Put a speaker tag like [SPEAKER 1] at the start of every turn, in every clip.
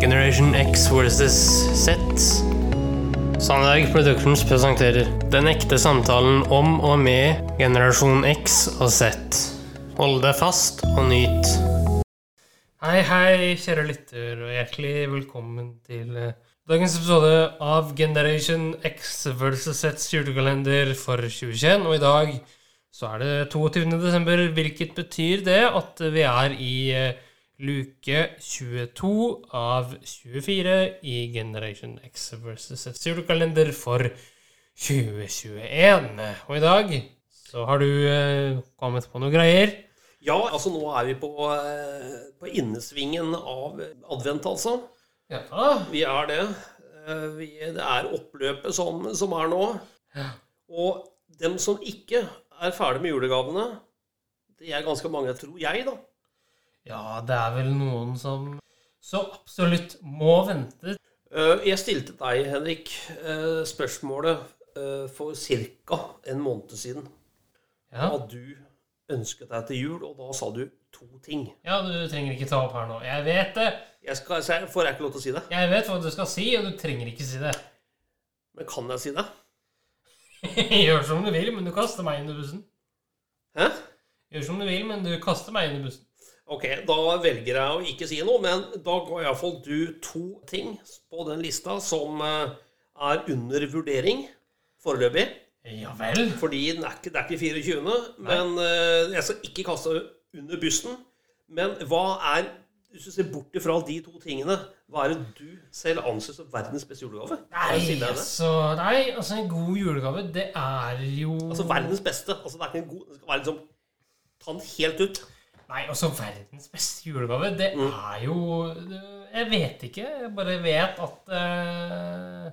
[SPEAKER 1] Generation X versus Z. Sandberg Productions presenterer Den ekte samtalen om og med generasjon X og Z. Hold deg fast og nyt. Hei, hei, kjære lytter, og hjertelig velkommen til eh, dagens episode av Generation X versus Z julekalender for 2021. Og i dag så er det 22. desember, hvilket betyr det at vi er i eh, luke 22 av 24 i Generation X versus Z julekalender for 2021. Og i dag så har du eh, kommet på noen greier.
[SPEAKER 2] Ja, altså nå er vi på, eh, på innesvingen av advent, altså.
[SPEAKER 1] Ja,
[SPEAKER 2] Vi er det. Eh, Vi, det er oppløpet som, som er nå. Og dem som ikke er ferdig med julegavene, det er ganske mange, tror jeg, da.
[SPEAKER 1] Ja, det er vel noen som så absolutt må vente.
[SPEAKER 2] Eh, Jeg stilte deg, Henrik, eh, spørsmålet eh, for ca. en måned siden.
[SPEAKER 1] Ja.
[SPEAKER 2] Hva du ønsket deg til jul, og da sa du to ting.
[SPEAKER 1] ja, du trenger ikke ta opp her nå. Jeg vet det.
[SPEAKER 2] Jeg skal, så jeg får jeg ikke lov til å si det?
[SPEAKER 1] Jeg vet hva du skal si, og du trenger ikke si det.
[SPEAKER 2] Men kan jeg si det?
[SPEAKER 1] Gjør som du vil, men du kaster meg under bussen.
[SPEAKER 2] Hæ?
[SPEAKER 1] Gjør som du vil, men du kaster meg under bussen.
[SPEAKER 2] Ok, da velger jeg å ikke si noe, men da går iallfall du to ting på den lista som eh, er under vurdering foreløpig.
[SPEAKER 1] Ja vel.
[SPEAKER 2] Fordi den er ikke, det er ikke 24., men eh, jeg skal ikke kaste under bussen. Men hva er Hvis du ser bort ifra de to tingene, hva er det du selv anser som verdens beste julegave? Kan jeg si
[SPEAKER 1] Nei,
[SPEAKER 2] deg det?
[SPEAKER 1] altså, nei, altså en god julegave, det er jo
[SPEAKER 2] Altså verdens beste. Altså, det er ikke en god, det skal være liksom Ta den helt ut.
[SPEAKER 1] Nei, altså verdens beste julegave, det
[SPEAKER 2] Mm.
[SPEAKER 1] er jo eh, Jeg vet ikke. Jeg bare vet at eh,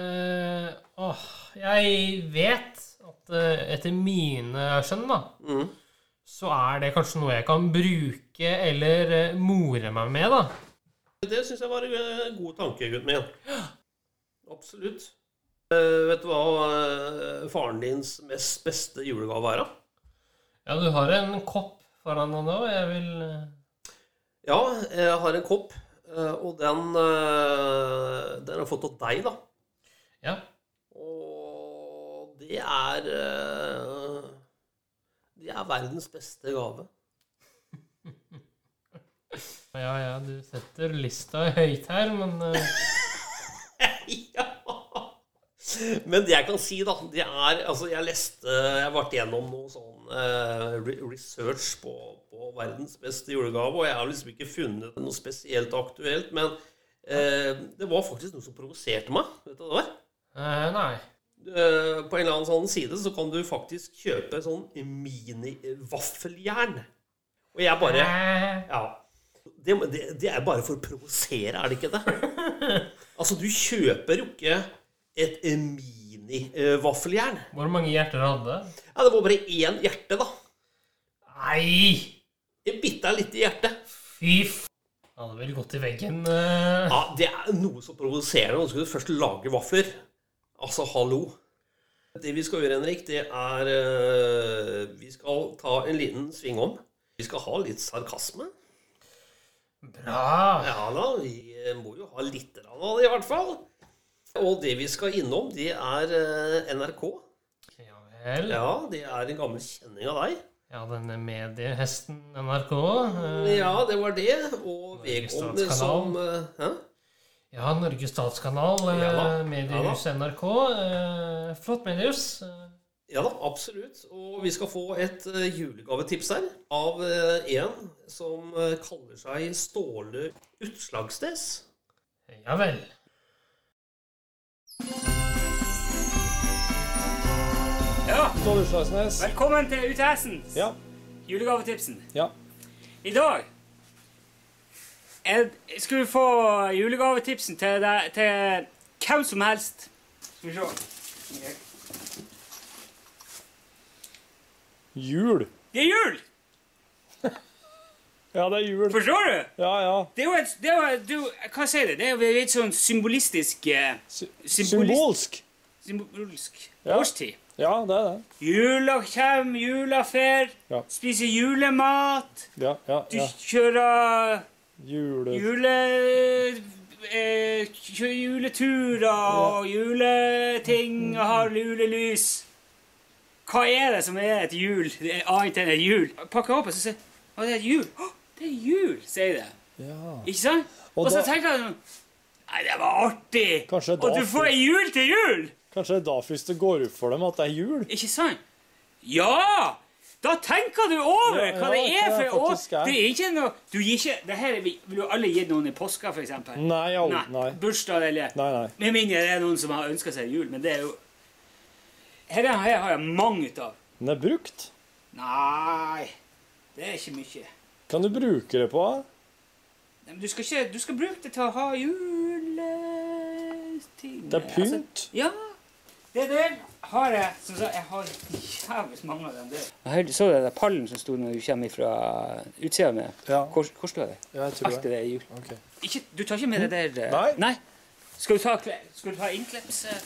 [SPEAKER 1] eh, Åh Jeg vet at eh, etter mine skjønn, da,
[SPEAKER 2] Mm.
[SPEAKER 1] så er det kanskje noe jeg kan bruke eller eh, more meg med, da.
[SPEAKER 2] Det syns jeg var en eh, god tanke, gutten min. Absolutt. Eh, vet du hva eh, faren dins mest beste julegave er, da?
[SPEAKER 1] Ja, du har en kopp foran deg nå, og jeg vil eh,
[SPEAKER 2] Ja, jeg har en kopp, eh, og den, eh, den har jeg fått av deg, da.
[SPEAKER 1] Ja.
[SPEAKER 2] Og det er eh, Det er verdens beste gave.
[SPEAKER 1] Ja, ja, du setter lista høyt her, men eh,
[SPEAKER 2] ja. Men det jeg kan si, da, det er Altså, jeg leste Jeg ble gjennom noe sånn eh, re- research på, på verdens beste julegave, og jeg har liksom ikke funnet noe spesielt aktuelt, men eh, det var faktisk noe som provoserte meg. Vet du hva det var?
[SPEAKER 1] eh, Nei.
[SPEAKER 2] Eh, på en eller annen sånn side så kan du faktisk kjøpe sånn mini-vaffeljern. Og jeg bare
[SPEAKER 1] Eh,
[SPEAKER 2] ja. Det, det, det er bare for å provosere, er det ikke det? Altså, du kjøper jo ikke et mini-vaffeljern.
[SPEAKER 1] Hvor mange hjerter hadde det?
[SPEAKER 2] Ja, det var bare én hjerte, da.
[SPEAKER 1] Nei!
[SPEAKER 2] Et bitte lite hjerte.
[SPEAKER 1] Fy f... Han hadde vel gått i veggen. eh.
[SPEAKER 2] Ja, Det er noe som provoserer når du skal først lage vafler. Altså, hallo. Det vi skal gjøre, Henrik, det er eh, Vi skal ta en liten sving om. Vi skal ha litt sarkasme.
[SPEAKER 1] Bra!
[SPEAKER 2] Ja da, vi eh, må jo ha litt grann av det i hvert fall. Og det vi skal innom, det er eh, NRK.
[SPEAKER 1] Ja vel.
[SPEAKER 2] Ja, det er en gammel kjenning av deg.
[SPEAKER 1] Ja, denne mediehesten NRK. eh,
[SPEAKER 2] Ja, det var det. Og
[SPEAKER 1] Norges
[SPEAKER 2] vedkommende som eh, hæ?
[SPEAKER 1] Ja, Norges statskanal, eh,
[SPEAKER 2] Ja da.
[SPEAKER 1] mediehus NRK. eh, Flott mediehus. eh.
[SPEAKER 2] Ja da, absolutt. Og vi skal få et eh, julegavetips her av eh, en som eh, kaller seg Ståle Utslagsnes.
[SPEAKER 1] Ja vel.
[SPEAKER 3] Ja,
[SPEAKER 4] Ståle Slagsnes.
[SPEAKER 3] velkommen til UTS-en.
[SPEAKER 4] Ja.
[SPEAKER 3] Julegavetipsen.
[SPEAKER 4] ja.
[SPEAKER 3] I dag jeg skulle få julegavetipsen til, deg, til hvem som helst. Skal vi se.
[SPEAKER 4] Jul.
[SPEAKER 3] Det er jul!
[SPEAKER 4] Ja, det er jul.
[SPEAKER 3] Forstår du?
[SPEAKER 4] Ja, ja.
[SPEAKER 3] Det er jo et, det er jo, det er jo, Hva sier det? Det er jo litt sånn symbolistisk eh,
[SPEAKER 4] Sy
[SPEAKER 3] Symbolist.
[SPEAKER 4] Symbolsk.
[SPEAKER 3] Symbolsk
[SPEAKER 4] Ja.
[SPEAKER 3] årstid.
[SPEAKER 4] Ja, det er det.
[SPEAKER 3] Jula kjem, jula fer,
[SPEAKER 4] Ja.
[SPEAKER 3] spiser julemat,
[SPEAKER 4] Ja, ja,
[SPEAKER 3] du
[SPEAKER 4] ja.
[SPEAKER 3] kjører
[SPEAKER 4] Jule...
[SPEAKER 3] Jule... Eh, kjø- juleturer og
[SPEAKER 4] Mm.
[SPEAKER 3] juleting og har julelys. Hva er det som er et jul det er annet enn et jul? Pakker opp og så sier Å, det er et jul. Å, det er jul, sier det.
[SPEAKER 4] Ja.
[SPEAKER 3] Ikke sant?
[SPEAKER 4] Og
[SPEAKER 3] Og, så
[SPEAKER 4] da-
[SPEAKER 3] tenker jeg sånn Nei, det var artig.
[SPEAKER 4] Kanskje
[SPEAKER 3] og
[SPEAKER 4] da-
[SPEAKER 3] du får ei jul til jul!
[SPEAKER 4] Kanskje det er da først det går opp for dem at det er jul?
[SPEAKER 3] Ikke sant? Ja! Da tenker du over
[SPEAKER 4] Ja,
[SPEAKER 3] hva det
[SPEAKER 4] ja, hva
[SPEAKER 3] er
[SPEAKER 4] det
[SPEAKER 3] for år.
[SPEAKER 4] faktisk er.
[SPEAKER 3] Det er ikke noe Du gir ikke Det her vil vil jo alle gi noen i påska, for eksempel.
[SPEAKER 4] Nei, al- nei.
[SPEAKER 3] Nei. Bursdag eller
[SPEAKER 4] Nei, nei.
[SPEAKER 3] Med mindre det er noen som har ønska seg jul, men det er jo Her, er- her har jeg mange av.
[SPEAKER 4] Den er brukt.
[SPEAKER 3] Nei, det er ikke mye.
[SPEAKER 4] Kan du bruke det på?
[SPEAKER 3] Nei, Men du skal ikke Du skal bruke det til å ha juleting.
[SPEAKER 4] Det er
[SPEAKER 3] Altså,
[SPEAKER 4] pynt.
[SPEAKER 3] Ja. Det der har jeg som sagt, Jeg har jævlig mange av dem der. så du den der pallen som sto når du kommer fra utsida med?
[SPEAKER 4] Ja.
[SPEAKER 3] Hvor, hvor står det?
[SPEAKER 4] Ja, jeg tror
[SPEAKER 3] Alt det
[SPEAKER 4] det.
[SPEAKER 3] der er jul.
[SPEAKER 4] Ok.
[SPEAKER 3] Ikke, du tar ikke med det der eh,
[SPEAKER 4] Nei.
[SPEAKER 3] Skal du ta, kle- skal du ta innkleps... eh,